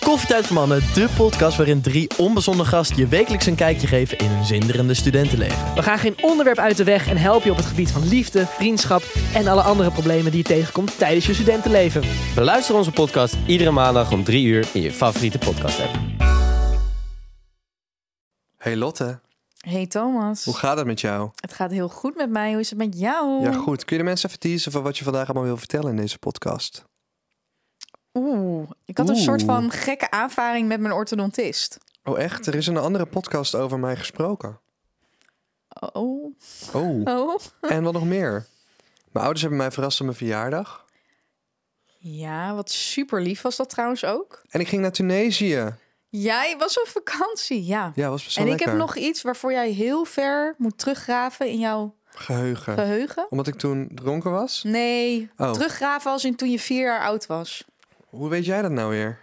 Koffietijd voor Mannen, de podcast waarin drie onbezonnen gasten je wekelijks een kijkje geven in hun zinderende studentenleven. We gaan geen onderwerp uit de weg en helpen je op het gebied van liefde, vriendschap en alle andere problemen die je tegenkomt tijdens je studentenleven. Beluister onze podcast iedere maandag om 3 uur in je favoriete podcast app. Hey Lotte, Hey Thomas, hoe gaat het met jou? het gaat heel goed met mij. Hoe is het met jou? Ja, goed. Kun je de mensen even teasen van wat je vandaag allemaal wil vertellen in deze podcast? Oeh, ik had Oeh. een soort van gekke aanvaring met mijn orthodontist. Oh, echt? Er is in een andere podcast over mij gesproken. Oh, Oh, oh. en wat nog meer? Mijn ouders hebben mij verrast op mijn verjaardag. Ja, wat super lief was dat trouwens ook. En ik ging naar Tunesië. Jij was op vakantie, ja. Ja, was best wel en ik lekker. heb nog iets waarvoor jij heel ver moet teruggraven in jouw Geheugen. geheugen. Hm. Omdat ik toen dronken was? Nee, Oh. teruggraven als in toen je vier jaar oud was. Hoe weet jij dat nou weer?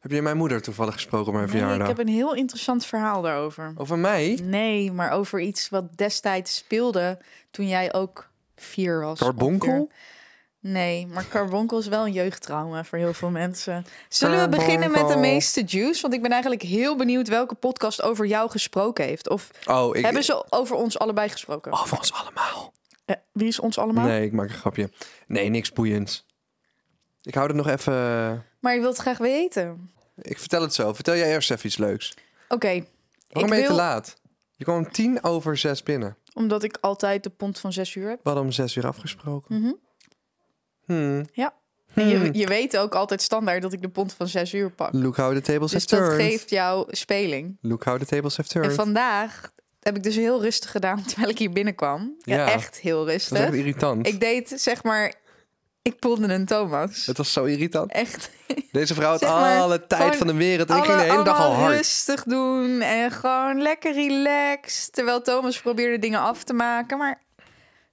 Heb je mijn moeder toevallig gesproken op mijn Nee, ik verjaardag? heb Hm. een heel interessant verhaal daarover. Over mij? Nee, maar over iets wat destijds speelde toen jij ook vier was. Carbonkel? ongeveer. Nee, maar carbonkel is wel een jeugdtrauma voor heel veel mensen. Zullen we Carbonkel. beginnen met de meeste juice? Want ik ben eigenlijk heel benieuwd welke podcast over jou gesproken heeft. Of Oh, ik... hebben ze over ons allebei gesproken? Over ons allemaal. Eh, wie is ons allemaal? Nee, ik maak een grapje. Nee, niks boeiends. Ik hou het nog even... eh, Maar je wilt het graag weten. Ik vertel het zo. Vertel jij eerst even iets leuks. Oké, ik Waarom ben je wil... te laat? Je kwam tien over zes binnen. Omdat ik altijd de pond van zes uur heb. We hadden om zes uur afgesproken. Mhm. Hmm. Ja. En Je, je weet ook altijd standaard dat ik de pond van zes uur pak. Look how the tables Dus have dat turned. geeft jou speling. Look how the tables have En turned. vandaag heb ik dus heel rustig gedaan terwijl ik hier binnenkwam. Ja, Ja. echt heel Dat is echt rustig. irritant. Ik deed zeg maar, ik poelde een Thomas. Het was zo irritant. Echt. Deze vrouw had Zeg maar, alle tijd gewoon van de wereld. En ik ging Alle- de hele dag al allemaal hard. rustig doen en gewoon lekker relaxed. Terwijl Thomas probeerde dingen af te maken. Maar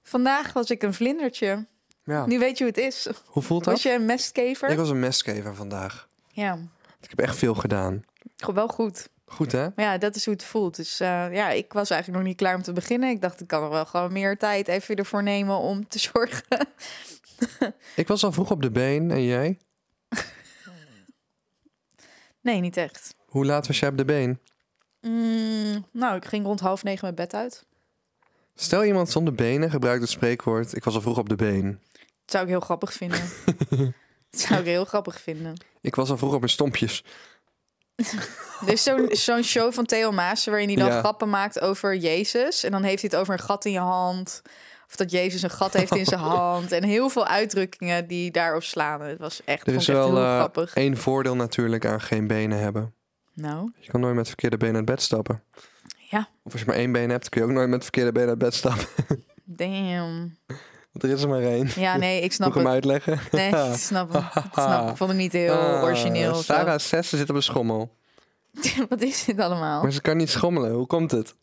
vandaag was ik een vlindertje. Ja. Nu weet je hoe het is. Hoe voelt dat? Was je een mestkever? Ah. Ik was een mestgever vandaag. Ja, Ik heb echt veel gedaan. go- wel goed. Goed, hè? Maar ja, dat is hoe het voelt. Dus eh, ja, ik was eigenlijk nog niet klaar om te beginnen. Ik dacht, ik kan er wel gewoon meer tijd even ervoor nemen om te zorgen Ik was al vroeg op de been. En jij? Nee, niet echt. Hoe laat was jij op de been? Mm, nou, ik ging rond half negen mijn bed uit. Stel iemand zonder benen gebruikt het spreekwoord... ik was al vroeg op de been. Dat zou ik heel grappig vinden. dat zou ik heel grappig vinden. Ik was al vroeg op mijn stompjes. Er is zo'n zo'n show van Theo Maassen waarin hij dan Ja. grappen maakt over Jezus. En dan heeft hij het over een gat in je hand. Of dat Jezus een gat heeft in zijn Oh. hand. En heel veel uitdrukkingen die daarop slaan. Het was echt, Er vond is ik echt wel heel eh, grappig. één voordeel natuurlijk aan geen benen hebben. Nou, Je kan nooit met verkeerde benen uit bed stappen. Ja. Of als je maar één been hebt, kun je ook nooit met verkeerde benen uit bed stappen. damn. Want er is er maar één. Moet Ja, nee, ik ik snap hem het. uitleggen? Nee, ik snap hem. Ik snap hem. Ik vond hem niet heel Ah, origineel. of zo. Oh. Sarah Sessen zit op een schommel. Wat is dit allemaal? Maar ze kan niet schommelen. Hoe komt het?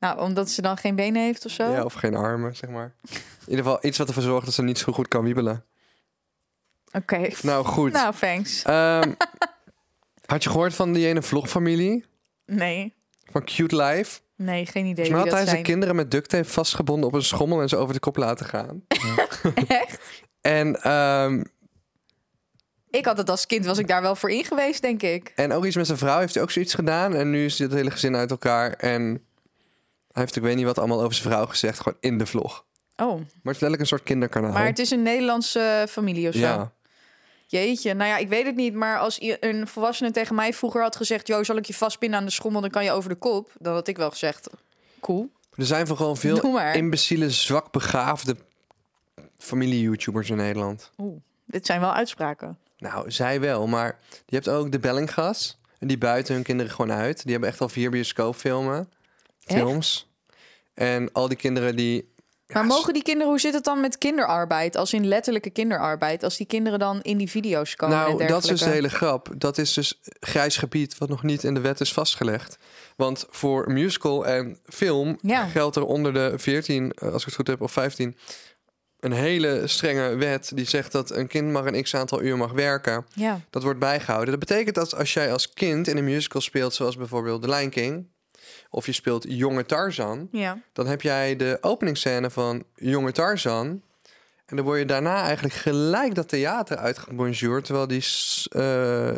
Nou, omdat ze dan geen benen heeft of zo? Ja, of geen armen, zeg maar. In ieder geval iets wat ervoor zorgt dat ze niet zo goed kan wiebelen. Oké. Nou, goed. Nou, thanks. Ehm, had je gehoord van die ene vlogfamilie? Nee, Van Cute Life? nee, geen Volgens idee wie mij had dat hij zijn zijn. kinderen met duct tape vastgebonden op een schommel en ze over de kop laten gaan. Echt? En, ehm, Ik had het als kind, was ik daar wel voor in geweest, denk ik. en ook iets met zijn vrouw heeft hij ook zoiets gedaan. En nu is het hele gezin uit elkaar. En hij heeft, ik weet niet wat allemaal over zijn vrouw gezegd, gewoon in de vlog. Oh, Maar het is letterlijk een soort kinderkanaal. maar het dus is een Nederlandse eh, familie of zo. Nou. ja. Jeetje, nou ja, ik weet het niet, maar als i- een volwassene tegen mij vroeger had gezegd... Jo, zal ik je vastpinnen aan de schommel, dan kan je over de kop. Dan had ik wel gezegd, cool. Er zijn van gewoon Doe veel maar. imbeciele, zwakbegaafde familie-YouTubers in Nederland. Oeh, dit zijn wel uitspraken. Nou, zij wel, maar je hebt ook de Bellinggas. En die buiten hun kinderen gewoon uit. Die hebben echt al vier bioscoopfilmen. Echt? Films. En al die kinderen die... Maar mogen die kinderen, hoe zit het dan met kinderarbeid? Als in letterlijke kinderarbeid, als die kinderen dan in die video's komen en Nou, dat is dus de dergelijke? hele grap. Dat is dus grijs gebied wat nog niet in de wet is vastgelegd. Want voor musical en film Ja. geldt er onder de 14, eh, als ik het goed heb, of 15... een hele strenge wet die zegt dat een kind maar een x-aantal uur mag werken. Ja, Dat wordt bijgehouden. Dat betekent dat als jij als kind in een musical speelt, zoals bijvoorbeeld The Lion King, of je speelt Jonge Tarzan, ja. dan heb jij de openingsscène van Jonge Tarzan. En dan word je daarna eigenlijk gelijk dat theater uitgebonjourd, terwijl die s- eh,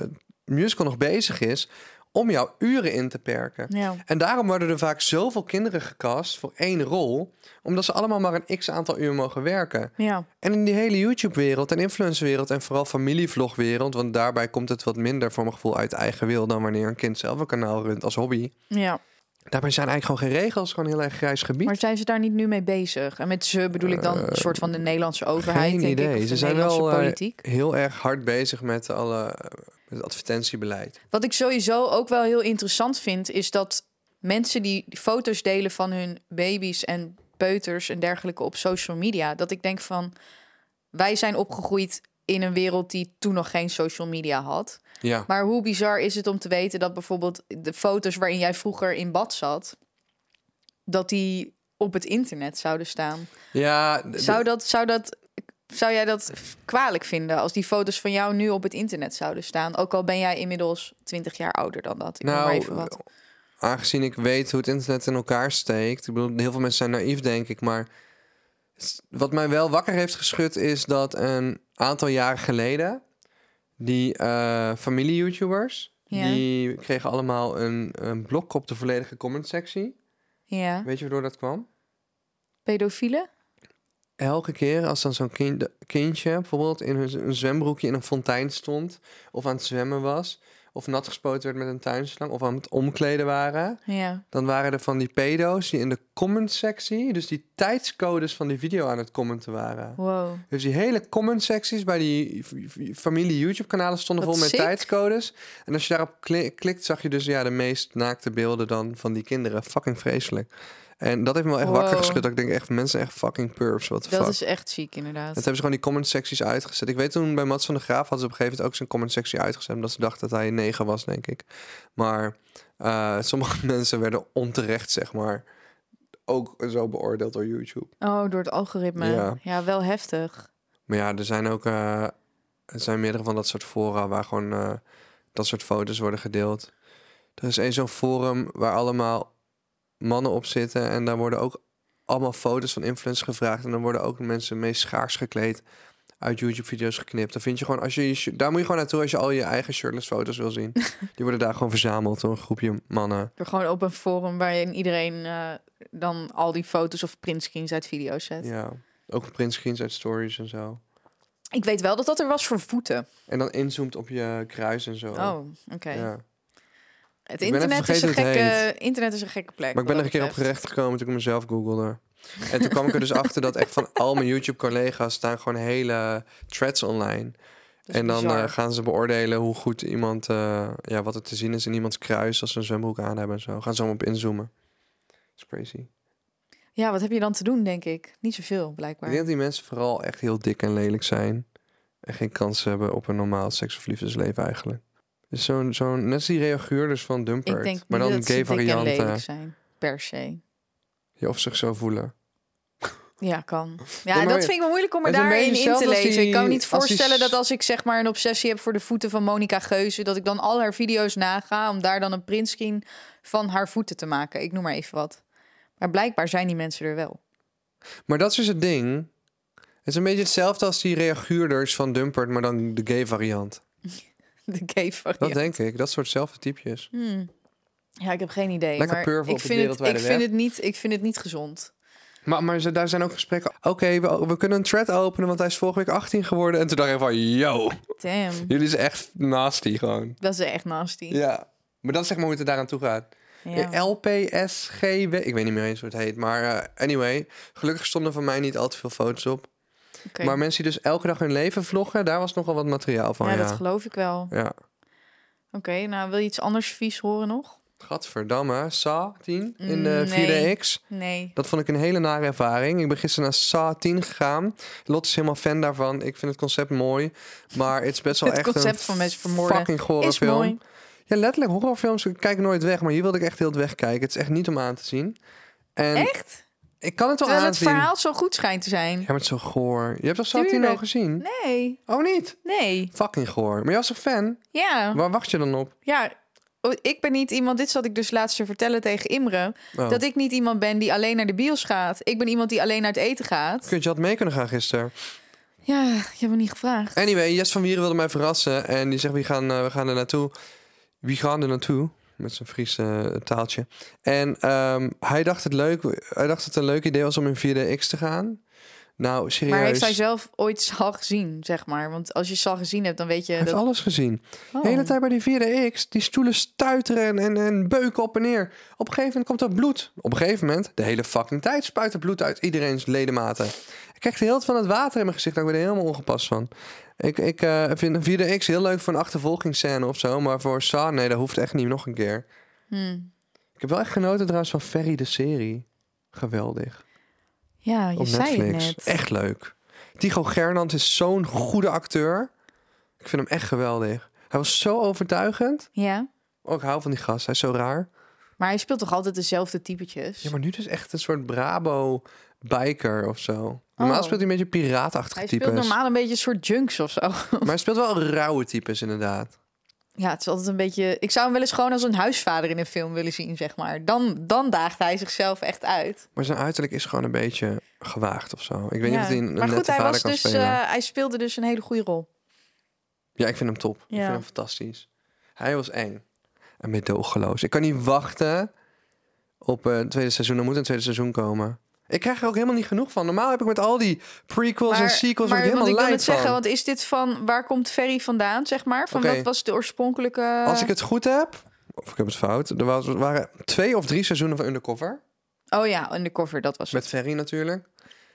musical nog bezig is om jouw uren in te perken. Ja. En daarom worden er vaak zoveel kinderen gecast voor één rol, omdat ze allemaal maar een x aantal uur mogen werken. Ja. En in die hele YouTube-wereld en influencer-wereld en vooral familievlogwereld, want daarbij komt het wat minder voor mijn gevoel uit eigen wil dan wanneer een kind zelf een kanaal runt als hobby. ja. Daarbij zijn eigenlijk gewoon geen regels, gewoon een heel erg grijs gebied. Maar zijn ze daar niet nu mee bezig? En met ze bedoel ik dan een soort van de Nederlandse overheid, Eh, Geen denk ik, idee. of de Ze zijn Nederlandse wel eh, politiek. heel erg hard bezig met alle eh, met het advertentiebeleid. Wat ik sowieso ook wel heel interessant vind, is dat mensen die foto's delen van hun baby's en peuters en dergelijke op social media, dat ik denk van, wij zijn opgegroeid in een wereld die toen nog geen social media had. Ja. Maar hoe bizar is het om te weten dat bijvoorbeeld de foto's waarin jij vroeger in bad zat, dat die op het internet zouden staan. Ja, d- d- Zou dat, zou dat, zou jij dat kwalijk vinden als die foto's van jou nu op het internet zouden staan? Ook al ben jij inmiddels 20 jaar ouder dan dat. Ik noem maar nou, even wat. aangezien ik weet hoe het internet in elkaar steekt. Ik bedoel, heel veel mensen zijn naïef, denk ik. Maar s- wat mij wel wakker heeft geschud is dat een aantal jaren geleden... die eh, familie-YouTubers, Ja. die kregen allemaal een, een blok op de volledige comment-sectie. Ja, Weet je waardoor dat kwam? pedofielen? elke keer als dan zo'n kind, kindje bijvoorbeeld in hun z- een zwembroekje in een fontein stond, of aan het zwemmen was, of nat gespoten werd met een tuinslang, of aan het omkleden waren, Ja. dan waren er van die pedo's die in de comment-sectie, dus die tijdscodes van die video aan het commenten waren. Wow. Dus die hele comment-secties bij die f- f- familie YouTube-kanalen stonden Wat vol met sick. tijdscodes. En als je daarop kli- klikt, zag je dus ja, de meest naakte beelden dan van die kinderen. Fucking vreselijk. En dat heeft me wel echt wakker Wow. geschud. Dat ik denk echt, mensen zijn echt fucking pervs. Wat de fuck. Dat is echt ziek inderdaad. Dat hebben ze gewoon die comment secties uitgezet. Ik weet toen bij Mats van de Graaf hadden ze op een gegeven moment ook zijn comment sectie uitgezet. Omdat ze dachten dat hij een negen was, denk ik. Maar eh, sommige mensen werden onterecht, zeg maar, ook zo beoordeeld door YouTube. Oh, door het algoritme. Ja. Ja, wel heftig. Maar ja, er zijn ook eh, er zijn meerdere van dat soort fora waar gewoon eh, dat soort foto's worden gedeeld. Er is één zo'n forum waar allemaal mannen op zitten en daar worden ook allemaal foto's van influencers gevraagd en dan worden ook mensen meest schaars gekleed uit YouTube-video's geknipt. Dan vind je gewoon als je, je shi- daar moet je gewoon naartoe als je al je eigen shirtless foto's wil zien. Die worden daar gewoon verzameld door een groepje mannen. Door gewoon op een forum waarin iedereen eh, dan al die foto's of printscreens uit video's zet. Ja, ook printscreens uit stories en zo. Ik weet wel dat dat er was voor voeten. En dan inzoomt op je kruis en zo. Oh, oké. Ja. Het Ik ben even internet is, een vergeten hoe het gekke, internet is een gekke plek. Maar ik ben er wat een keer dat op gerecht gekomen toen ik mezelf googelde. En toen kwam ik er dus achter dat echt van al mijn YouTube-collega's staan gewoon hele threads online. Dat is En dan bizar. eh, gaan ze beoordelen hoe goed iemand, eh, ja, wat er te zien is in iemands kruis als ze een zwembroek aan hebben en zo. Gaan ze allemaal op inzoomen. Dat is crazy. betreft. Ja, wat heb je dan te doen, denk ik? Niet zoveel, Ik blijkbaar. denk dat die mensen vooral echt heel dik en lelijk zijn. En geen kans hebben op een normaal seks- of liefdesleven eigenlijk. Dus zo'n, zo'n, net als die reaguurders van ik Dumpert. denk maar niet dan dat ze gay eh. dik en lelijk varianten. zijn, per se. Ja, of zich zo voelen. Ja, kan. Ja, Ja, maar dat vind ik wel moeilijk om me het is een daarin beetje in te hetzelfde als lezen. ik kan me die- niet als die voorstellen s- dat als ik zeg maar een obsessie heb voor de voeten van Monica Geuze... dat ik dan al haar video's naga om daar dan een printscreen van haar voeten te maken. Ik noem maar even wat. Maar blijkbaar zijn die mensen er wel. Maar dat is dus het ding. Het is een beetje hetzelfde als die reaguurders van Dumpert, maar dan de gay variant. De gay Dat variant. denk ik. Dat soortzelfde typjes. Hmm. Ja, ik heb geen idee. Lekker maar purvel ik op de vind, het, wereldwijde ik, vind web. het niet, ik vind het niet gezond. Maar, maar ze, daar zijn ook gesprekken. Oké, we, we kunnen een thread openen, want hij is vorige week 18 geworden. En toen dacht ik van, yo, Damn, jullie is echt nasty gewoon. dat is echt nasty. Ja. Maar dat is zeg maar hoe het er daaraan toe gaat. Eh, Ja. LPSGW, ik weet niet meer eens hoe het heet. Maar eh, anyway, gelukkig stonden van mij niet al te veel foto's op. Oké. Maar mensen die dus elke dag hun leven vloggen, daar was nogal wat materiaal van. ja, Ja, dat geloof ik wel. Oké, ja. nou wil je iets anders vies horen nog? Gadverdamme, Sa 10 in Mm, de nee. 4DX. Nee. Dat vond ik een hele nare ervaring. Ik ben gisteren naar Sa 10 gegaan. Lot is helemaal fan daarvan. Ik vind het concept mooi. Maar het is best wel Het echt concept een van mensen vermoorden fucking gore is film. mooi. Ja, letterlijk horrorfilms. Ik kijk nooit weg, maar hier wilde ik echt heel het wegkijken. Het is echt niet om aan te zien. En Echt? Ik kan het wel Terwijl het aanzien. verhaal zo goed schijnt te zijn. Ja, maar het is zo goor. Je hebt toch Sa 10 Tuurlijk. al gezien? Nee, Oh, niet? nee. Fucking goor. Maar jij was toch fan? Ja, Waar wacht je dan op? ja. Oh, Ik ben niet iemand, dit zat ik dus laatst te vertellen tegen Imre, Oh. dat ik niet iemand ben die alleen naar de bios gaat. Ik ben iemand die alleen naar het eten gaat. Kunt je had mee kunnen gaan gisteren? Ja, je hebt me niet gevraagd. Anyway, Jes van Wieren wilde mij verrassen. En die zegt, we gaan, eh, we gaan er naartoe. Wie gaan er naartoe? Met zijn Friese eh, taaltje. En ehm, hij, dacht het leuk, hij dacht dat het een leuk idee was om in 4DX te gaan. Nou, serieus. Maar heeft hij zelf ooit Sal gezien, zeg maar? Want als je Sal gezien hebt, dan weet je Hij heeft dat... alles gezien. Oh. De hele tijd bij die 4DX. Die stoelen stuiteren en, en, en beuken op en neer. Op een gegeven moment komt er bloed. Op een gegeven moment, de hele fucking tijd, spuit er bloed uit iedereen's ledematen. Ik krijg de hele tijd van het water in mijn gezicht. Nou, ik ben er helemaal ongepast van. Ik, ik eh, vind een 4DX heel leuk voor een achtervolgingsscène of zo. Maar voor Sa, nee, dat hoeft echt niet nog een keer. Hmm. Ik heb wel echt genoten trouwens van Ferry de serie. Geweldig. Ja, je op zei Netflix. het net. Echt leuk. Tycho Gernand is zo'n goede acteur. Ik vind hem echt geweldig. Hij was zo overtuigend. Ja, Oh, ik hou van die gast. Hij is zo raar. maar hij speelt toch altijd dezelfde typetjes? Ja, maar nu dus echt een soort Brabo-biker of zo. Normaal Oh. speelt hij een beetje piraatachtige Hij types. speelt normaal een beetje een soort junks of zo. Maar hij speelt wel rauwe types, inderdaad. Ja, het is altijd een beetje... Ik zou hem wel eens gewoon als een huisvader in een film willen zien, zeg maar. Dan, dan daagt hij zichzelf echt uit. Maar zijn uiterlijk is gewoon een beetje gewaagd of zo. Ik weet niet Ja. of hij een, een maar goed, nette hij, vader was kan dus, spelen. eh, hij speelde dus een hele goede rol. Ja, ik vind hem top. Ik Ja. vind hem fantastisch. Hij was eng. En medogeloos. Ik kan niet wachten op eh, het tweede seizoen. Er moet een tweede seizoen komen. Ik krijg er ook helemaal niet genoeg van. Normaal heb ik met al die prequels en sequels... maar word ik helemaal want ik wil lijp het zeggen, van. want is dit van... Waar komt Ferry vandaan, zeg maar? Van Oké. wat was de oorspronkelijke... Als ik het goed heb, of ik heb het fout, er was, waren twee of drie seizoenen van Undercover. Oh ja, Undercover, dat was het. Met Ferry natuurlijk.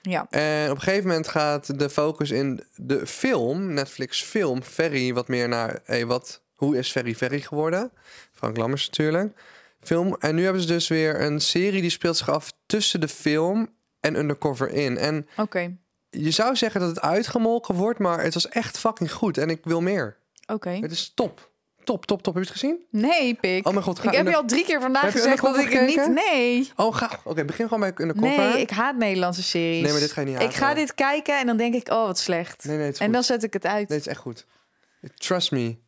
Ja. En op een gegeven moment gaat de focus in de film, Netflix film, Ferry, wat meer naar, hey, wat, hoe is Ferry Ferry geworden? Frank Lammers natuurlijk. Film. En nu hebben ze dus weer een serie die speelt zich af tussen de film en Undercover in. En Oké. je zou zeggen dat het uitgemolken wordt, maar het was echt fucking goed. En ik wil meer. Oké. Het is top. Top, top, top. Heb je het gezien? Nee, Pik. Oh mijn god, ga ik heb je Under- al drie keer vandaag Heb je gezegd dat ik Undercover het niet... gekeken? Nee. Oh, ga. Oké, begin gewoon bij Undercover. Nee, ik haat Nederlandse series. Nee, maar dit ga je niet Ik haten. ga dit kijken en dan denk ik, oh, wat slecht. Nee, nee, het is en goed. dan zet ik het uit. Nee, het is echt goed. Trust me.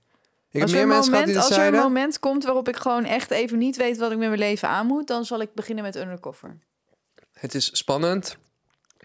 Ik heb als er, meer een mensen gehad die moment, dat als er een zeiden. moment komt waarop ik gewoon echt even niet weet wat ik met mijn leven aan moet, dan zal ik beginnen met Undercover. Het is spannend.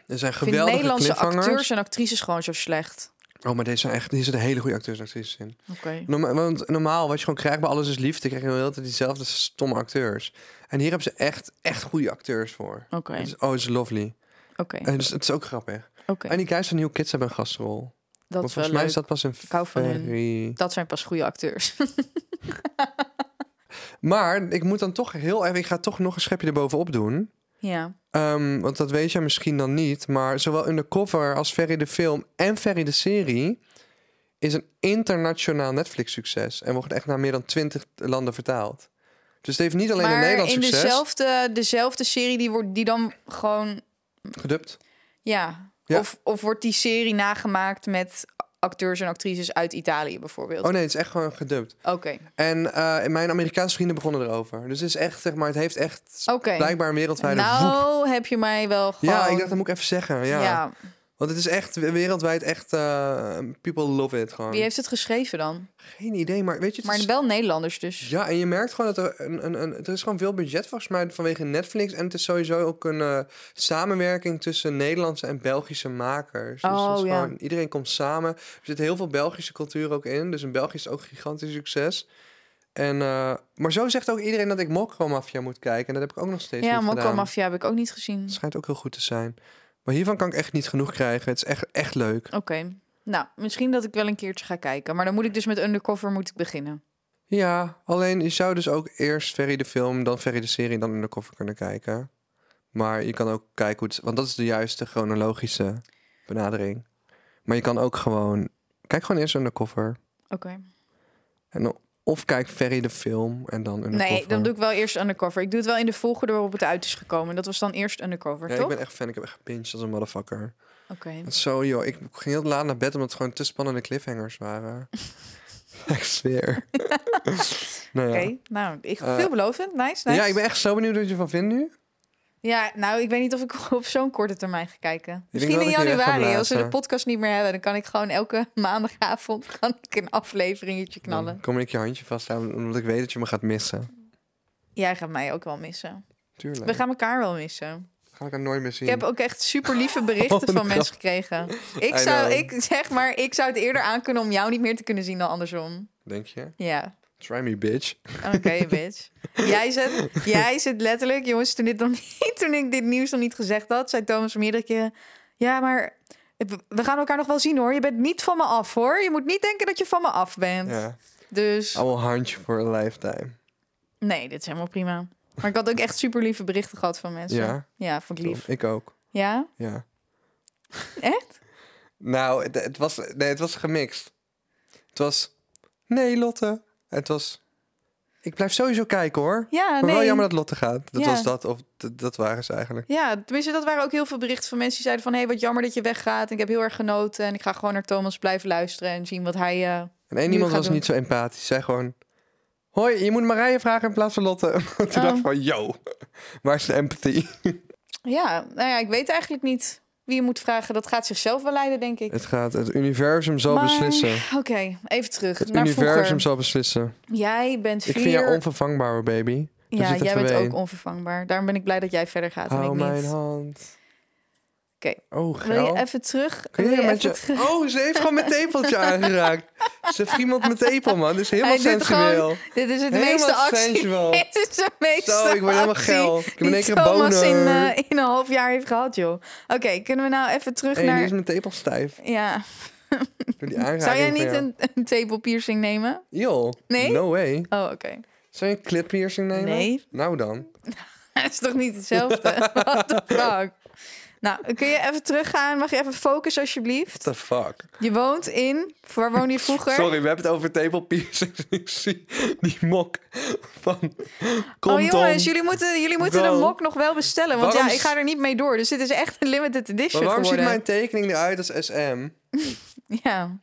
Er zijn Ik vind geweldige Nederlandse cliffhangers. acteurs en actrices gewoon zo slecht. Oh, maar deze zijn echt, hier zitten hele goede acteurs en actrices in. Oké. Norma- want normaal, wat je gewoon krijgt bij Alles is Liefde, krijg je de hele tijd diezelfde stomme acteurs. En hier hebben ze echt, echt goede acteurs voor. Oké. Het is, oh, het is lovely. Oké. En het is, het is ook grappig. Oké. En die guys van New Kids hebben een gastrol. Dat maar is wel volgens mij is leuk. dat pas een hou van hun. ferry. Dat zijn pas goede acteurs. Maar ik moet dan toch heel even... Ik ga toch nog een schepje erbovenop doen. ja. Ehm, want dat weet jij misschien dan niet. Maar zowel Undercover als Ferry de film en Ferry de serie... is een internationaal Netflix-succes. En wordt echt naar meer dan twintig landen vertaald. Dus het heeft niet alleen een maar Nederlands in succes. dezelfde, dezelfde serie die, wordt, die dan gewoon... Gedubt. Ja. Ja. Of, of wordt die serie nagemaakt met acteurs en actrices uit Italië bijvoorbeeld? Oh nee, het is echt gewoon gedubt. Oké. En eh, mijn Amerikaanse vrienden begonnen erover. Dus het is echt, zeg maar, het heeft echt Oké. blijkbaar een wereldwijde voep. Nou, heb je mij wel gewoon... Ja, ik dacht, dat moet ik even zeggen. Ja. Ja. Want het is echt wereldwijd echt... eh, people love it gewoon. Wie heeft het geschreven dan? Geen idee, maar weet je... het is- Maar wel Nederlanders dus. Ja, en je merkt gewoon dat er een, een, een, er is gewoon veel budget volgens mij vanwege Netflix. En het is sowieso ook een eh, samenwerking tussen Nederlandse en Belgische makers. Dus dat is Oh, ja. gewoon, iedereen komt samen. Er zit heel veel Belgische cultuur ook in. Dus in België is het ook een gigantisch succes. En, eh, maar zo zegt ook iedereen dat ik Mokro Mafia moet kijken. En dat heb ik ook nog steeds Ja, niet Mokko gedaan. Mafia heb ik ook niet gezien. Het schijnt ook heel goed te zijn. Maar hiervan kan ik echt niet genoeg krijgen. Het is echt, echt leuk. Oké. Nou, misschien dat ik wel een keertje ga kijken. Maar dan moet ik dus met Undercover moet ik beginnen. Ja, alleen je zou dus ook eerst Ferry de film, dan Ferry de serie, dan Undercover kunnen kijken. Maar je kan ook kijken hoe het... Want dat is de juiste chronologische benadering. Maar je kan ook gewoon... Kijk gewoon eerst Undercover. Oké. En dan- of kijk Ferry de film en dan Undercover. Nee, dan doe ik wel eerst Undercover. Ik doe het wel in de volgorde waarop het uit is gekomen. Dat was dan eerst Undercover, Ja, ik toch? ben echt fan. Ik heb echt gepincht als een motherfucker. Oké. Want zo, joh. Ik ging heel laat naar bed omdat het gewoon te spannende cliffhangers waren. ik zweer. nou ja. Oké, nou, ik, Eh, veelbelovend. Nice, nice. ja, ik ben echt zo benieuwd wat je ervan vindt nu. Ja, nou, ik weet niet of ik op zo'n korte termijn ga kijken. denk Misschien wel in dat ik je weg ga januari, als we de blazen. podcast niet meer hebben... dan kan ik gewoon elke maandagavond kan ik een afleveringetje knallen. Dan kom ik je handje vasthouden omdat ik weet dat je me gaat missen. Jij gaat mij ook wel missen. Tuurlijk. We gaan elkaar wel missen. Ga ik het nooit meer zien. Ik heb ook echt super lieve berichten Oh, van no. mensen gekregen. Ik I zou, know. ik, zeg maar, ik zou het eerder aankunnen om jou niet meer te kunnen zien dan andersom. Denk je? Ja, Try me, bitch. oké, bitch. Jij zit, jij zit letterlijk, jongens, toen, dit nog niet, toen ik dit nieuws nog niet gezegd had, zei Thomas meerdere keren: Ja, maar het- we gaan elkaar nog wel zien hoor. Je bent niet van me af hoor. Je moet niet denken dat je van me af bent. Ja. Dus I will hunt you for a lifetime. nee, dit is helemaal prima. Maar ik had ook echt super lieve berichten gehad van mensen. Ja? ja vond ik lief. Ik ook. Ja? Ja. Echt? Nou, het, het was, nee, het was gemixt. Het was, nee Lotte. Het was, ik blijf sowieso kijken hoor. Ja, maar Ah, nee. wel jammer dat Lotte gaat. Dat Ja. was dat, of d- dat waren ze eigenlijk. Ja, tenminste, dat waren ook heel veel berichten van mensen die zeiden van... hé, hey, wat jammer dat je weggaat. En ik heb heel erg genoten. En ik ga gewoon naar Thomas blijven luisteren en zien wat hij... eh, En één Nu iemand gaat was doen. niet zo empathisch. Zei gewoon, hoi, je moet Marije vragen in plaats van Lotte. Toen Oh. dacht ik van, yo, waar is de empathy? Ja, nou ja, ik weet eigenlijk niet wie je moet vragen. Dat gaat zichzelf wel leiden, denk ik. Het gaat, het universum zal Maar- beslissen. Oké, even terug Het naar universum vroeger. zal beslissen. Jij bent vier... Ik vind jou onvervangbaar, hoor, baby. daar ja, zit jij even bent bij ook in. onvervangbaar. Daarom ben ik blij dat jij verder gaat en Hou ik mijn niet. hand. Oké. Oh, Wil geil. je even terug? Kun je Wil je met even je... Oh, ze heeft gewoon mijn tepeltje aangeraakt. Ze friemelt mijn tepel, man. Dit is helemaal Hij doet gewoon sensueel. Dit is het Helemaal meeste actie. sensual. Dit is de meeste Zo, ik word helemaal actie geil. Ik heb in die één keer een Thomas boner. in, eh, in een half jaar heeft gehad, joh. Oké, kunnen we nou even terug Hé, nu naar... is mijn tepel stijf. Ja. Door die aanraking Zou jij van niet jou. een, een table piercing nemen? Yo, Nee? no way. Oh, oké. Zou je een clip piercing nemen? Nee. Nou dan. Dat is toch niet hetzelfde? What the fuck? Nou, kun je even teruggaan? Mag je even focussen, What alsjeblieft? the fuck? Je woont in... Waar woonde je vroeger? Sorry, we hebben het over tepel piercings. Ik zie die mok van... Kom oh jongens, jullie moeten, jullie moeten de Bro. mok nog wel bestellen. Want Waarom ja, ik s- ga er niet mee door. Dus dit is echt een limited edition Maar waarom ziet geworden. mijn tekening eruit als SM? Ja.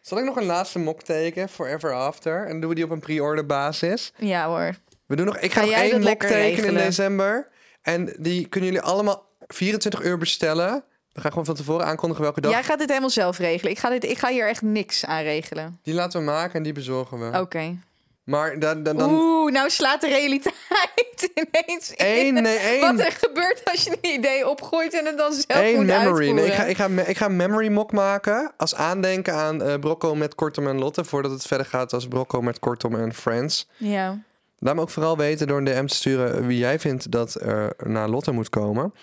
Zal ik nog een laatste mok tekenen? Forever After. En doen we die op een pre-order basis. ja hoor. We doen nog, ik Ga ga nog jij dat één mok lekker tekenen regelen? in december. En die kunnen jullie allemaal 24 uur bestellen. We gaan gewoon van tevoren aankondigen welke dag. Jij gaat dit helemaal zelf regelen. Ik ga, dit, ik ga hier echt niks aan regelen. Die laten we maken en die bezorgen we. Oké. Maar dan, dan, dan Oh. Oeh, nou slaat de realiteit ineens in. één, nee, één, Wat er gebeurt als je een idee opgooit en het dan zelf één moet memory. uitvoeren. Nee, ik, ga, ik, ga, me- ik ga een memory mok maken als aandenken aan eh, Brocco met Kortom en Lotte. Voordat het verder gaat als Brocco met Kortom en Friends. Ja. Laat me ook vooral weten door een DM te sturen wie jij vindt dat er naar Lotte moet komen.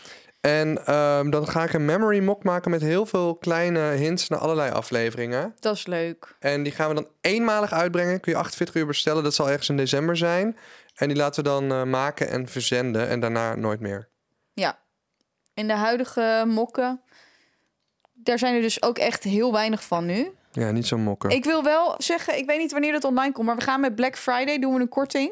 En ehm, dan ga ik een memory mock maken met heel veel kleine hints naar allerlei afleveringen. Dat is leuk. En die gaan we dan eenmalig uitbrengen. Kun je 48 uur bestellen. Dat zal ergens in december zijn. En die laten we dan eh, maken en verzenden. En daarna nooit meer. Ja. In de huidige mokken, daar zijn er dus ook echt heel weinig van nu. Ja, niet zo mokken. Ik wil wel zeggen, ik weet niet wanneer dat online komt, maar we gaan met Black Friday doen we een korting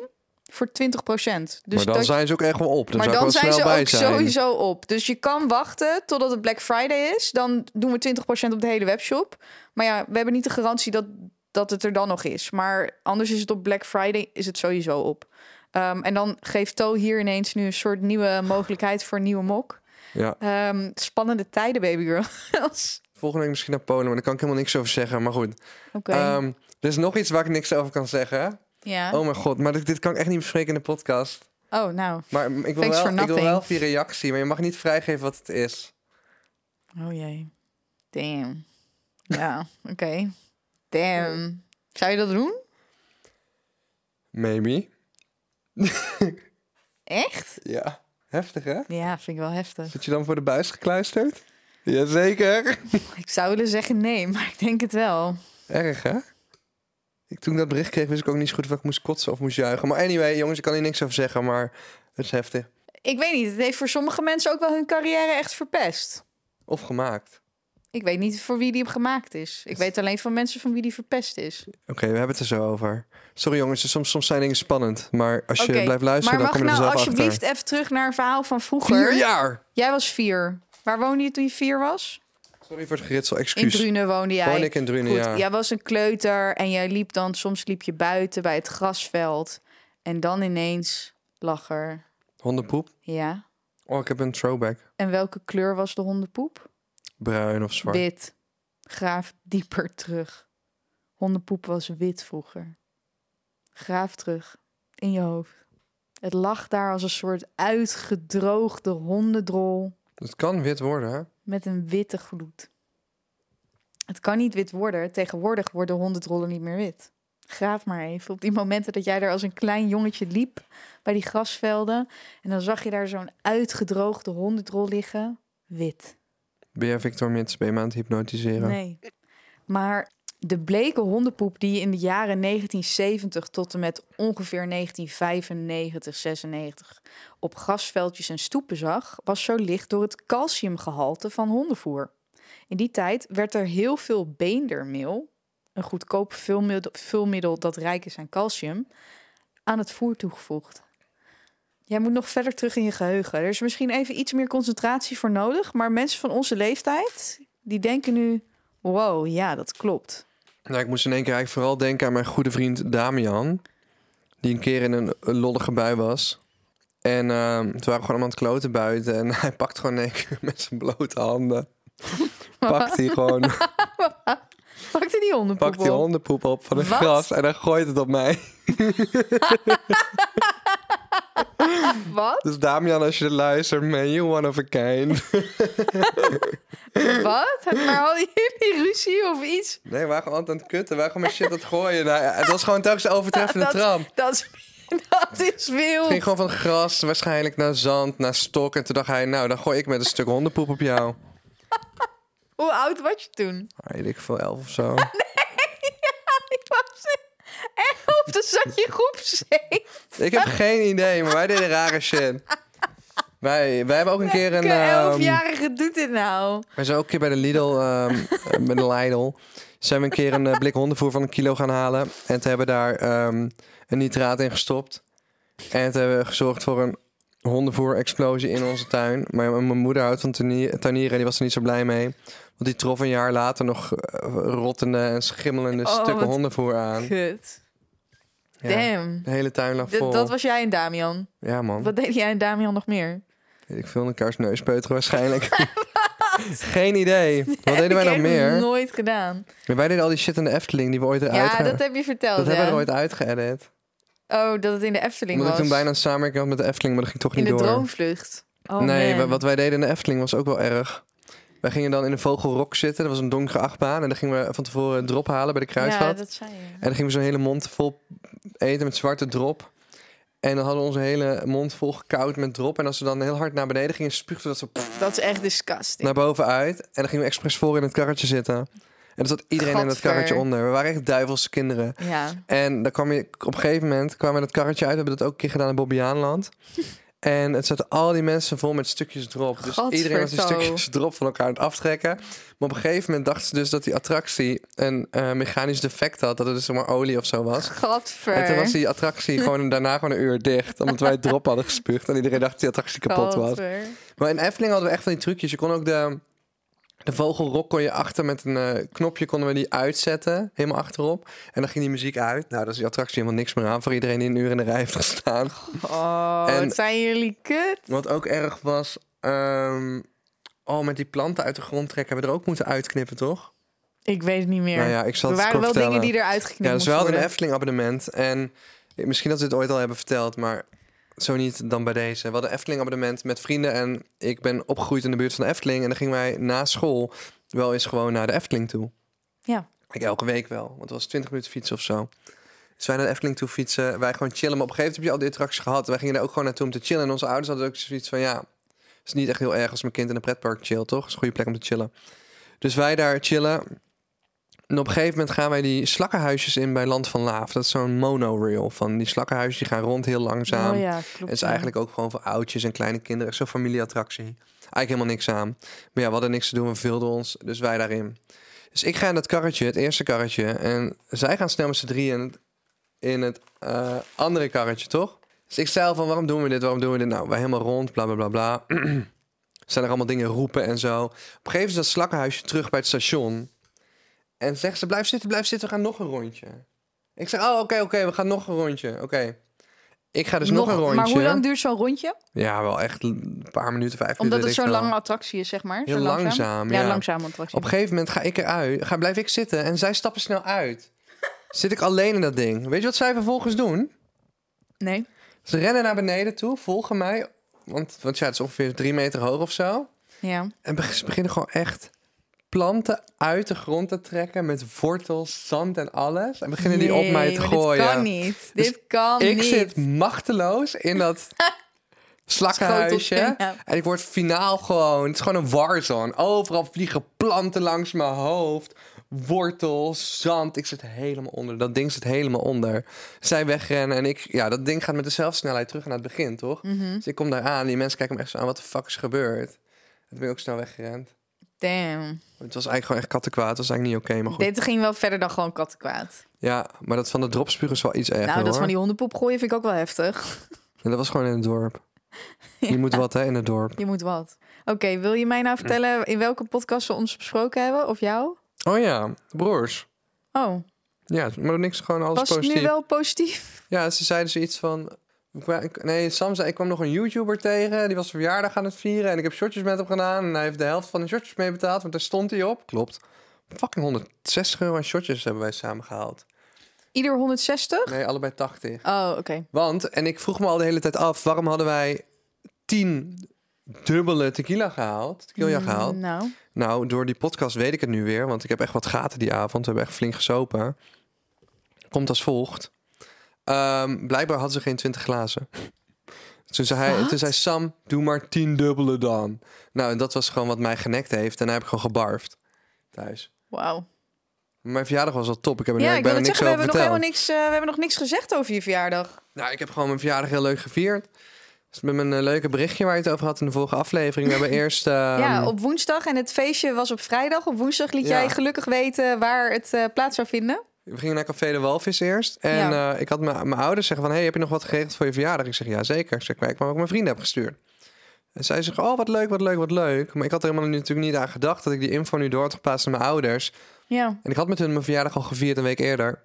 voor 20%. Dus maar dan dat- zijn ze ook echt wel op. Dan maar zou dan ik wel zijn ze snel bij ook zijn. sowieso op. Dus je kan wachten totdat het Black Friday is. Dan doen we 20% op de hele webshop. Maar ja, we hebben niet de garantie dat, dat het er dan nog is. Maar anders is het op Black Friday is het sowieso op. Ehm, en dan geeft To hier ineens nu een soort nieuwe mogelijkheid voor een nieuwe mok. Ja. Ehm, spannende tijden, baby girls. Volgende week misschien naar Polen. Maar daar kan ik helemaal niks over zeggen. Maar goed. Oké. Ehm, er is nog iets waar ik niks over kan zeggen. ja. Oh mijn god. Maar dit, dit kan ik echt niet bespreken in de podcast. Oh, nou. Maar m- ik wil, Thanks for wel, ik wil nothing. wel die reactie, maar je mag niet vrijgeven wat het is. Oh jee. Damn. Ja, oké. Damn. Zou je dat doen? Maybe. Echt? Ja. Heftig, hè? Ja, vind ik wel heftig. Zit je dan voor de buis gekluisterd? Jazeker. Ik zou willen zeggen nee, maar ik denk het wel. Erg, hè? Ik, toen ik dat bericht kreeg, wist ik ook niet zo goed of ik moest kotsen of moest juichen. Maar anyway, jongens, ik kan hier niks over zeggen, maar het is heftig. Ik weet niet, het heeft voor sommige mensen ook wel hun carrière echt verpest. Of gemaakt. Ik weet niet voor wie die gemaakt is. Ik weet alleen van mensen van wie die verpest is. Oké, we hebben het er zo over. Sorry jongens, dus soms, soms zijn dingen spannend. Maar als je Oké, blijft luisteren, dan maar mag kom je er nou zelf alsjeblieft achter. even terug naar een verhaal van vroeger. Vier jaar! Jij was vier. Waar woonde je toen je vier was? Sorry voor het geritsel, In excuus. Drunen woonde jij. Woon ik in Drunen, Goed, ja. Jij was een kleuter en jij liep dan, soms liep je buiten bij het grasveld. En dan ineens lag er, Hondenpoep. ja. Oh, ik heb een throwback. En welke kleur was de hondenpoep? Bruin of zwart. Wit. Graaf dieper terug. Hondenpoep was wit vroeger. Graaf terug. In je hoofd. Het lag daar als een soort uitgedroogde hondendrol Het kan wit worden, hè? met een witte gloed. Het kan niet wit worden. Tegenwoordig worden hondendrollen niet meer wit. Graaf maar even op die momenten dat jij daar als een klein jongetje liep bij die grasvelden. En dan zag je daar zo'n uitgedroogde hondendrol liggen. Wit. Ben jij Victor Mits? Ben je me aan het hypnotiseren? Nee. Maar de bleke hondenpoep die je in de jaren 1970 tot en met ongeveer 1995, 96 op grasveldjes en stoepen zag, was zo licht door het calciumgehalte van hondenvoer. In die tijd werd er heel veel beendermeel, een goedkoop vulmiddel, vulmiddel dat rijk is aan calcium, aan het voer toegevoegd. Jij moet nog verder terug in je geheugen. Er is misschien even iets meer concentratie voor nodig, maar mensen van onze leeftijd, die denken nu: wow, ja, dat klopt. Nou, ik moest in één keer eigenlijk vooral denken aan mijn goede vriend Damian. Die een keer in een, een lollige bui was. En ehm, toen waren we gewoon allemaal aan het kloten buiten. En hij pakt gewoon in één keer met zijn blote handen. pakt hij gewoon Pakte die hondenpoep pakt die op. hondenpoep op van het Wat? gras. En hij gooit het op mij. Wat? Dus Damian, als je dit luistert, man, you one of a kind. Wat? Maar hadden jullie ruzie of iets? Nee, we waren gewoon altijd aan het kutten. We waren gewoon met shit aan het gooien. Nou, ja, het was gewoon telkens een overtreffende Dat- tram. Dat is, dat is Het ging wild. gewoon van gras waarschijnlijk naar zand, naar stok. En toen dacht hij, nou, dan gooi ik met een stuk hondenpoep op jou. Hoe oud was je toen? Ah, Weet ik veel, elf of zo. Ik was elf, dan zat je in groep zeven. Ik heb geen idee, maar wij deden rare shit. Wij, wij hebben ook een keer een... Een ehm, elfjarige doet dit nou. wij zijn ook een keer bij de Lidl, ehm, eh, bij de Lidl... zijn we een keer een eh, blik hondenvoer van een kilo gaan halen. En toen hebben we daar ehm, een nitraat in gestopt. En toen hebben we gezorgd voor een hondenvoer-explosie in onze tuin. Maar mijn moeder houdt van tuinier- tuinieren, die was er niet zo blij mee. Want die trof een jaar later nog eh, rottende en schimmelende Oh, stukken wat hondenvoer aan. Kut. Ja, Damn. de hele tuin lag D- vol. dat was jij en Damian. Ja, man. Wat deed jij en Damian nog meer? Weet Ik veel, een kaarsneus peuteren waarschijnlijk. Geen idee. Wat deden wij Ik nog heb het meer? nooit gedaan. Maar Wij deden al die shit in de Efteling die we ooit eruit Ja, ge- dat heb je verteld. dat hebben hè? we er ooit uitgeëdit. Oh, dat het in de Efteling Omdat ik was. toen bijna een samenwerking had met de Efteling, maar dat ging toch in niet de door. droomvlucht. Oh, nee, man. wa- wat wij deden in de Efteling was ook wel erg. Wij gingen dan in een vogelrok zitten. Dat was een donkere achtbaan. En dan gingen we van tevoren een drop halen bij de kruisvat. Ja, dat zei je. En dan gingen we zo'n hele mond vol eten met zwarte drop. En dan hadden we onze hele mond vol gekoud met drop. En als we dan heel hard naar beneden gingen, spuugden we dat zo Dat is echt disgusting. naar boven uit. En dan gingen we expres voor in het karretje zitten. En er zat iedereen in dat Gadver. karretje onder. We waren echt duivelse kinderen. Ja. Nou, En dan kwam je, op een gegeven moment kwamen we dat karretje uit. We hebben dat ook een keer gedaan in Bobbejaanland. En het zaten al die mensen vol met stukjes drop. Dus iedereen was die Gadverdo. stukjes drop van elkaar aan het aftrekken. Maar op een gegeven moment dachten ze dus dat die attractie een eh, mechanisch defect had. Dat het dus zeg maar olie of zo was. Gadver. En toen was die attractie gewoon daarna gewoon een uur dicht. Omdat wij het drop hadden gespuugd. En iedereen dacht dat die attractie kapot was. Gadver. Maar in Efteling hadden we echt van die trucjes. Je kon ook de, de vogelrok kon je achter met een eh, knopje konden we die uitzetten. Helemaal achterop. En dan ging die muziek uit. Nou, dat is die attractie helemaal niks meer aan voor iedereen die een uur in de rij heeft gestaan. Oh, En- wat zijn jullie kut. Wat ook erg was, ehm, oh, met die planten uit de grond trekken hebben we er ook moeten uitknippen, toch? Ik weet het niet meer. Nou ja, ik zal er het waren kort wel vertellen. dingen die eruit geknipt Ja, dus we hadden een moesten Efteling abonnement. En eh, misschien dat we dit ooit al hebben verteld, maar zo niet dan bij deze. We hadden een Efteling abonnement met vrienden en ik ben opgegroeid in de buurt van de Efteling. En dan gingen wij na school wel eens gewoon naar de Efteling toe. Ja. Ik elke week wel, want het was 20 minuten fietsen of zo. Dus wij naar de Efteling toe fietsen, wij gewoon chillen. Maar op een gegeven moment heb je al die attracties gehad. Wij gingen daar ook gewoon naartoe om te chillen. En onze ouders hadden ook zoiets van, ja, het is niet echt heel erg als mijn kind in een pretpark chillt, toch? Het is een goede plek om te chillen. Dus wij daar chillen. En op een gegeven moment gaan wij die slakkenhuisjes in bij Land van Laaf. Dat is zo'n monorail van die slakkenhuisjes. Die gaan rond heel langzaam. Oh ja, klopt. Het is ja. eigenlijk ook gewoon voor oudjes en kleine kinderen. Echt zo'n familieattractie. Eigenlijk helemaal niks aan. Maar ja, we hadden niks te doen. We verveelden ons. Dus wij daarin. Dus ik ga in dat karretje, het eerste karretje. En zij gaan snel met z'n drieën in het, in het eh, andere karretje, toch? Dus ik zei al van, waarom doen we dit? Waarom doen we dit? Nou, wij helemaal rond, bla bla bla bla. Zijn er allemaal dingen roepen en zo. Op een gegeven moment is dat slakkenhuisje terug bij het station. En zegt ze, blijf zitten, blijf zitten. We gaan nog een rondje. Ik zeg, oh, oké, oké, we gaan nog een rondje. Oké. Ik ga dus nog, een rondje. Maar hoe lang duurt zo'n rondje? Ja, wel echt een paar minuten, vijf minuten. Omdat het weet ik zo'n veel. lange attractie is, zeg maar. Heel Zo langzaam, Ja, ja. langzaam attractie. Op een gegeven moment ga ik eruit, ga, blijf ik zitten en zij stappen snel uit. Zit ik alleen in dat ding. Weet je wat zij vervolgens doen? Nee. Ze rennen naar beneden toe, volgen mij. Want, want ja, het is ongeveer drie meter hoog of zo. Ja. En beg- ze beginnen gewoon echt planten uit de grond te trekken. Met wortels, zand en alles. En beginnen die op mij Nee, te maar gooien. Dit kan niet. Dus dit kan ik niet. zit machteloos in dat slakkenhuisje. Schoteltje, ja. En ik word finaal gewoon... Het is gewoon een warzone. Overal vliegen planten langs mijn hoofd. Wortels, zand. Ik zit helemaal onder. Dat ding zit helemaal onder. Zij wegrennen en ik... Ja, dat ding gaat met dezelfde snelheid terug naar het begin, toch? Mhm. Dus ik kom daar aan. Die mensen kijken me echt zo aan. Wat de fuck is gebeurd? En toen ben ik ook snel weggerend. Damn. Het was eigenlijk gewoon echt kattenkwaad. Het was eigenlijk niet oké, maar goed. Dit ging wel verder dan gewoon kattenkwaad. Ja, maar dat van de dropspuug is wel iets erger, nou, dat hoor. van die hondenpoep gooien vind ik ook wel heftig. En dat was gewoon in het dorp. Je moet wat, hè, in het dorp. Je moet wat. Oké, wil je mij nou vertellen in welke podcast we ons besproken hebben? Of jou? Oh ja, broers. Oh, Ja, maar niks, gewoon alles was het positief. nu wel positief? Ja, ze zeiden zoiets van... Nee, Sam zei, ik kwam nog een YouTuber tegen. Die was zijn verjaardag aan het vieren. En ik heb shortjes met hem gedaan. En hij heeft de helft van de shortjes mee betaald. Want daar stond hij op. Klopt. Fucking 160 euro aan shortjes hebben wij samen gehaald. Ieder 160? Nee, allebei 80. Oh, oké. Want, en ik vroeg me al de hele tijd af... waarom hadden wij 10 dubbele tequila gehaald? Tequila gehaald. Mm, Nou, Nou, door die podcast weet ik het nu weer, want ik heb echt wat gaten die avond. We hebben echt flink gesopen. Komt als volgt. Ehm, blijkbaar hadden ze geen 20 glazen. Toen zei, hij, Wat? toen zei Sam, doe maar 10 dubbele dan. Nou, en dat was gewoon wat mij genekt heeft. En daar heb ik gewoon gebarfd thuis. wauw. Mijn verjaardag was al top. Ik heb er Ja, eigenlijk bijna ik wil het niks zeggen, we over hebben, nog helemaal verteld. niks, eh, we hebben nog niks gezegd over je verjaardag. Nou, ik heb gewoon mijn verjaardag heel leuk gevierd. Dus met mijn eh, leuke berichtje waar je het over had in de vorige aflevering. We hebben eerst... ja, ehm, op woensdag en het feestje was op vrijdag. Op woensdag liet Ja. jij gelukkig weten waar het eh, plaats zou vinden. We gingen naar Café de Walvis eerst. En Ja. eh, ik had mijn mijn ouders zeggen van... Hey, heb je nog wat geregeld voor je verjaardag? Ik zeg, ja zeker. Ik zeg, maar ik maar ook mijn vrienden heb gestuurd. En zij zeggen, oh wat leuk, wat leuk, wat leuk. Maar ik had er helemaal nu- natuurlijk niet aan gedacht... dat ik die info nu door had geplaatst naar mijn ouders. Ja. En ik had met hun mijn verjaardag al gevierd een week eerder.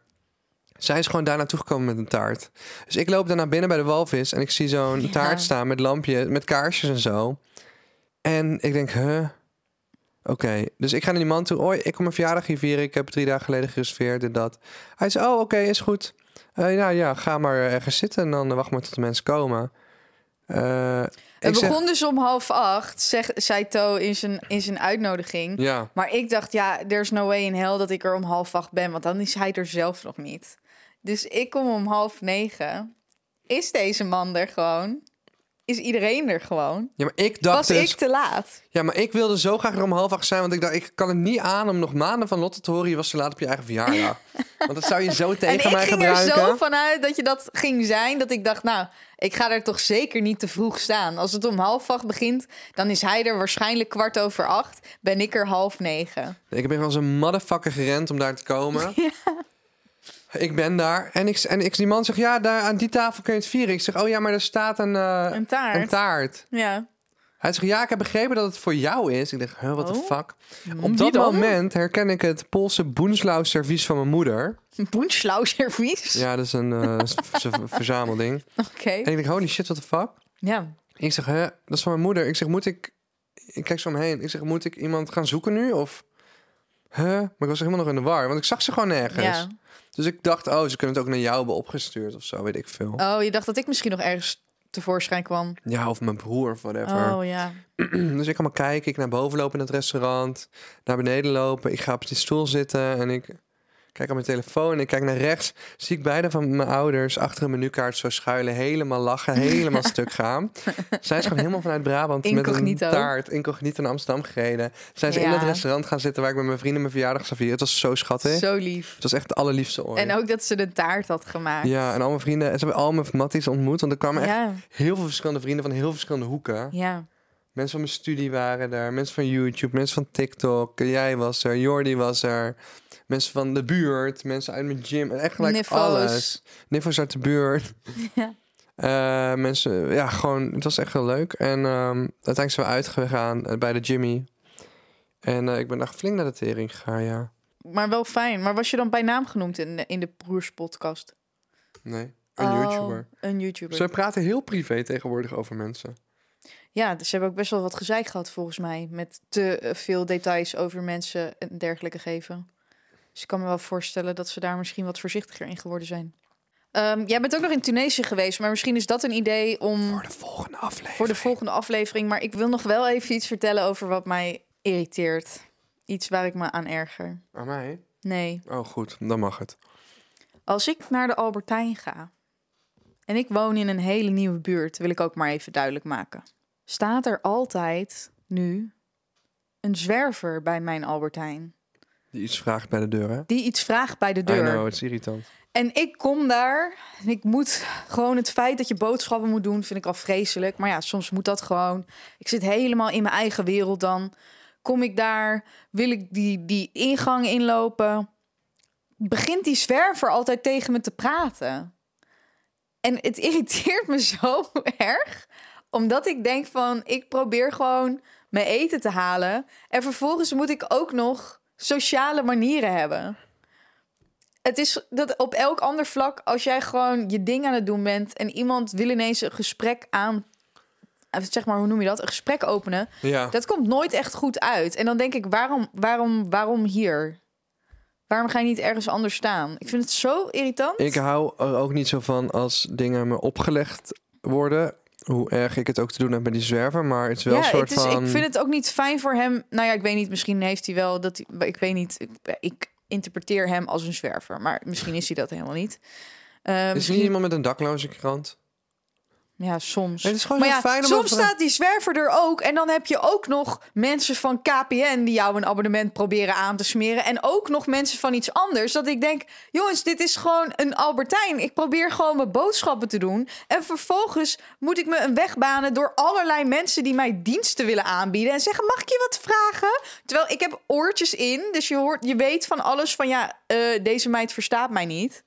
Zij is gewoon daar naartoe gekomen met een taart. Dus ik loop daarna binnen bij de walvis en ik zie zo'n Ja. taart staan met lampje, met kaarsjes en zo. En ik denk, huh? Oké, dus ik ga naar die man toe. Hoi, ik kom mijn verjaardag hier vieren. Ik heb het drie dagen geleden gereserveerd, dit, dat. Hij zei, oh, oké, is goed. Eh nou ja, ga maar ergens zitten en dan eh, wacht maar tot de mensen komen. Eh, ik Het zeg- begon dus om half acht, zeg, zei To in zijn, in zijn uitnodiging. ja. Maar ik dacht, ja, there's no way in hell dat ik er om half acht ben, want dan is hij er zelf nog niet. Dus ik kom om half negen. Is deze man er gewoon? Is iedereen er gewoon? ja, maar ik dacht Was dus... ik te laat? Ja, maar ik wilde zo graag er om half acht zijn, want ik dacht, ik kan het niet aan om nog maanden van Lotte te horen. Je was te laat op je eigen verjaardag. want dat zou je zo En tegen ik mij ging er gebruiken. zo vanuit dat je dat ging zijn, dat ik dacht, nou, ik ga er toch zeker niet te vroeg staan. Als het om half acht begint, dan is hij er waarschijnlijk kwart over acht. Ben ik er half negen. Ik ben als een motherfucker gerend om daar te komen. Ik ben daar en, ik, en ik, die man zegt, ja, daar, aan die tafel kun je het vieren. Ik zeg, oh ja, maar er staat een, eh, Een taart. een taart. Ja. Hij zegt, ja, ik heb begrepen dat het voor jou is. Ik denk, huh, what the Oh. fuck. Op dat moment herken ik het Poolse boenslauw servies van mijn moeder. Boenschlauw servies. Ja, dat is een eh, z- z- verzamelding. Oké. En ik denk, holy shit, what the fuck. Ja. Ik zeg, hè, dat is van mijn moeder. Ik zeg, moet ik... Ik kijk zo omheen. Ik zeg, moet ik iemand gaan zoeken nu? Of... Huh? Maar ik was helemaal nog in de war. Want ik zag ze gewoon nergens. ja. Dus ik dacht, oh, ze kunnen het ook naar jou hebben opgestuurd of zo. Weet ik veel. Oh, je dacht dat ik misschien nog ergens tevoorschijn kwam. Ja, of mijn broer of whatever. Oh ja. Dus ik kan maar kijken. Ik naar boven lopen in het restaurant. Naar beneden lopen. Ik ga op die stoel zitten. En ik kijk aan mijn telefoon. En ik kijk naar rechts. Zie ik beide van mijn ouders achter een menukaart zo schuilen. Helemaal lachen. Helemaal stuk gaan. Zij is gewoon helemaal vanuit Brabant Incognito. met een taart. Incognito naar Amsterdam gereden. Zijn ze in Ja. het restaurant gaan zitten waar ik met mijn vrienden mijn verjaardag zou vieren. Het was zo schattig. Zo lief. Het was echt het allerliefste ooit. En ook dat ze de taart had gemaakt. ja, en al mijn vrienden. En ze hebben al mijn matties ontmoet. Want er kwamen echt ja. heel veel verschillende vrienden van heel verschillende hoeken. ja. Mensen van mijn studie waren er, mensen van YouTube, mensen van TikTok, jij was er, Jordi was er, mensen van de buurt, mensen uit mijn gym, en echt gelijk Niffos. alles. Niffos uit de buurt. Ja. Eh, mensen, ja, gewoon, het was echt heel leuk. En ehm, uiteindelijk zijn we uitgegaan eh, bij de Jimmy. En eh, ik ben echt flink naar de tering gegaan, ja. Maar wel fijn. Maar was je dan bij naam genoemd in, de- in de Broers podcast? Nee, een Oh, YouTuber. Een YouTuber. Ze praten heel privé tegenwoordig over mensen. Ja, dus ze hebben ook best wel wat gezeik gehad volgens mij. Met te eh, veel details over mensen en dergelijke geven. Dus ik kan me wel voorstellen dat ze daar misschien wat voorzichtiger in geworden zijn. Ehm, jij bent ook nog in Tunesië geweest, maar misschien is dat een idee om Voor de volgende aflevering. voor de volgende aflevering. Maar ik wil nog wel even iets vertellen over wat mij irriteert. Iets waar ik me aan erger. Aan mij? Nee. Oh, goed. Dan mag het. Als ik naar de Albertijn ga en ik woon in een hele nieuwe buurt, wil ik ook maar even duidelijk maken. Staat er altijd nu een zwerver bij mijn Albertijn Die iets vraagt bij de deur, hè? die iets vraagt bij de I deur? know, het is irritant. En ik kom daar en ik moet gewoon het feit dat je boodschappen moet doen, vind ik al vreselijk. Maar ja, soms moet dat gewoon. Ik zit helemaal in mijn eigen wereld dan. Kom ik daar, wil ik die, die ingang inlopen. Begint die zwerver altijd tegen me te praten. En het irriteert me zo erg, omdat ik denk van, ik probeer gewoon mijn eten te halen. En vervolgens moet ik ook nog sociale manieren hebben het is dat op elk ander vlak, als jij gewoon je ding aan het doen bent en iemand wil ineens een gesprek aan, eh, zeg maar, hoe noem je dat? Een gesprek openen. Ja. Dat komt nooit echt goed uit. En dan denk ik, waarom, waarom, waarom hier? Waarom ga je niet ergens anders staan? Ik vind het zo irritant. Ik hou er ook niet zo van als dingen me opgelegd worden. Hoe erg ik het ook te doen heb met die zwerver. Maar het is wel ja, een soort het is, van... ik vind het ook niet fijn voor hem. Nou ja, ik weet niet, misschien heeft hij wel dat. hij- Ik weet niet, ik, ik interpreteer hem als een zwerver, maar misschien is hij dat helemaal niet. Eh, Is er niet iemand met een dakloze krant? Ja, soms. Het is gewoon maar zo ja, fijn om soms over- staat die zwerver er ook. En dan heb je ook nog mensen van KPN die jou een abonnement proberen aan te smeren. En ook nog mensen van iets anders. Dat ik denk, jongens, dit is gewoon een Albertijn. Ik probeer gewoon mijn boodschappen te doen. En vervolgens moet ik me een weg banen door allerlei mensen die mij diensten willen aanbieden. En zeggen, mag ik je wat vragen? Terwijl ik heb oortjes in. Dus je, hoort, je weet van alles van, ja, eh, deze meid verstaat mij niet.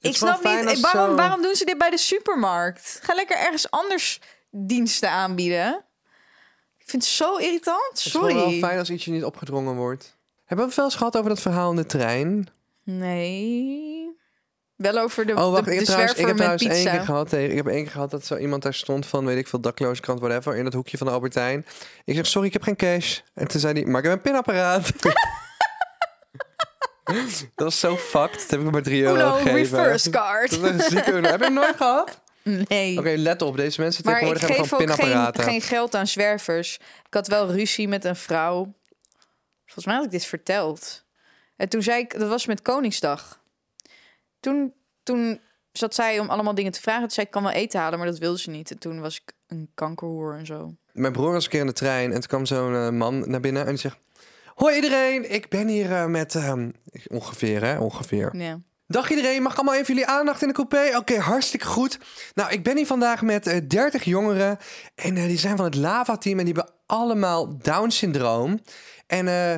is Ik wel snap fijn niet, als eh, waarom, zo- waarom doen ze dit bij de supermarkt? Ga lekker ergens anders diensten aanbieden. Ik vind het zo irritant. Het is gewoon Sorry. wel fijn als iets je niet opgedrongen wordt. Hebben we het wel eens gehad over dat verhaal in de trein? Nee. Wel over de, Oh, wacht, de, ik de heb trouwens, ik zwerver heb met trouwens één keer pizza. gehad tegen. Ik heb één keer gehad dat zo iemand daar stond van, weet ik veel, dakloze krant, whatever, in dat hoekje van de Albertijn. Ik zeg, sorry, ik heb geen cash. En toen zei hij, maar ik heb een pinapparaat. dat was zo fucked. Dat heb ik hem maar 3 euro Uno, gegeven. nou, reverse Dat card. was een zieke Uno. Heb je hem nooit gehad? Oké, Nee. let op. Deze mensen maar ik tegenwoordig hebben geef gewoon ook geen, pinapparaten. geen geld aan zwervers. Ik had wel ruzie met een vrouw. Volgens mij had ik dit verteld. En toen zei ik, dat was met Koningsdag. Toen, toen zat zij om allemaal dingen te vragen. Toen zei ik, kan wel eten halen, maar dat wilde ze niet. En toen was ik een kankerhoer en zo. Mijn broer was een keer in de trein en toen kwam zo'n eh, man naar binnen en die zegt... Hoi iedereen, ik ben hier eh, met... ehm, ik- ongeveer, hè? Ongeveer. Ja. Dag iedereen, mag ik allemaal even jullie aandacht in de coupé? Oké, hartstikke goed. Nou, ik ben hier vandaag met eh, 30 jongeren. En eh, die zijn van het Lava-team en die hebben allemaal Down-syndroom. En eh,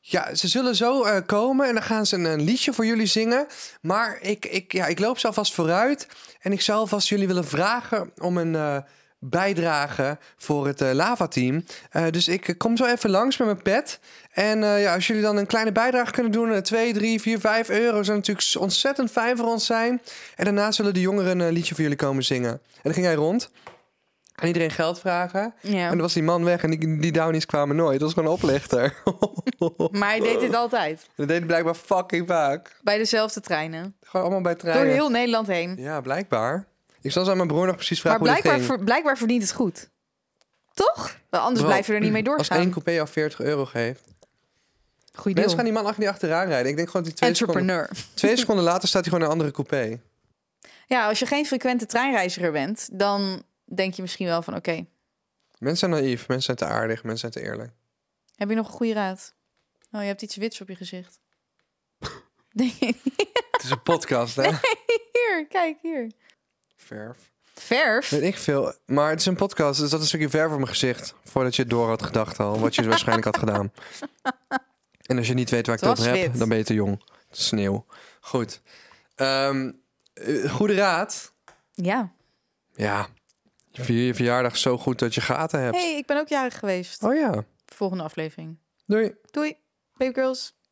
ja, ze zullen zo eh, komen en dan gaan ze een, een liedje voor jullie zingen. Maar ik, ik, ja, ik loop ze alvast vooruit. En ik zou alvast jullie willen vragen om een... eh, bijdrage voor het eh, Lava-team. Eh, dus ik eh, kom zo even langs met mijn pet. En eh, ja, als jullie dan een kleine bijdrage kunnen doen, eh, 2, 3, 4, 5 euro, zou natuurlijk s- ontzettend fijn voor ons zijn. En daarna zullen de jongeren een liedje voor jullie komen zingen. En dan ging hij rond. Aan iedereen geld vragen. En ja. dan was die man weg en die, die downies kwamen nooit. Dat was gewoon een oplichter. Maar hij deed dit altijd. dat deed hij blijkbaar fucking vaak. Bij dezelfde treinen. Gewoon allemaal bij Door treinen. heel Nederland heen. Ja, blijkbaar. Ik zal ze aan mijn broer nog precies Maar vragen hoe dit blijkbaar, ging. ver- blijkbaar verdient het goed. Toch? Want anders Bro, blijven we er niet mee Als één doorgaan. coupé al 40 euro geeft. Goed Mensen gaan deal. die man achter niet achteraan rijden. Ik denk gewoon dat hij twee seconden, Entrepreneur. twee seconden later staat hij gewoon in een andere coupé. Ja, als je geen frequente treinreiziger bent, dan denk je misschien wel van oké, Mensen zijn naïef, mensen zijn te aardig, mensen zijn te eerlijk. heb je nog een goede raad? Oh, je hebt iets wits op je gezicht. Denk je niet? Het is een podcast, hè? hier, kijk hier. Verf. Verf? Weet ik veel. Maar het is een podcast, dus dat is een stukje verf op mijn gezicht. Voordat je het door had gedacht al, wat je dus waarschijnlijk had gedaan. En als je niet weet waar ik Het dat was heb, wit. dan ben je te jong. Sneeuw. Goed. Ehm, eh, goede raad. Ja. Ja. Vier je verjaardag zo goed dat je gaten hebt. hey, ik ben ook jarig geweest. Oh ja. Volgende aflevering. Doei. Doei, baby girls.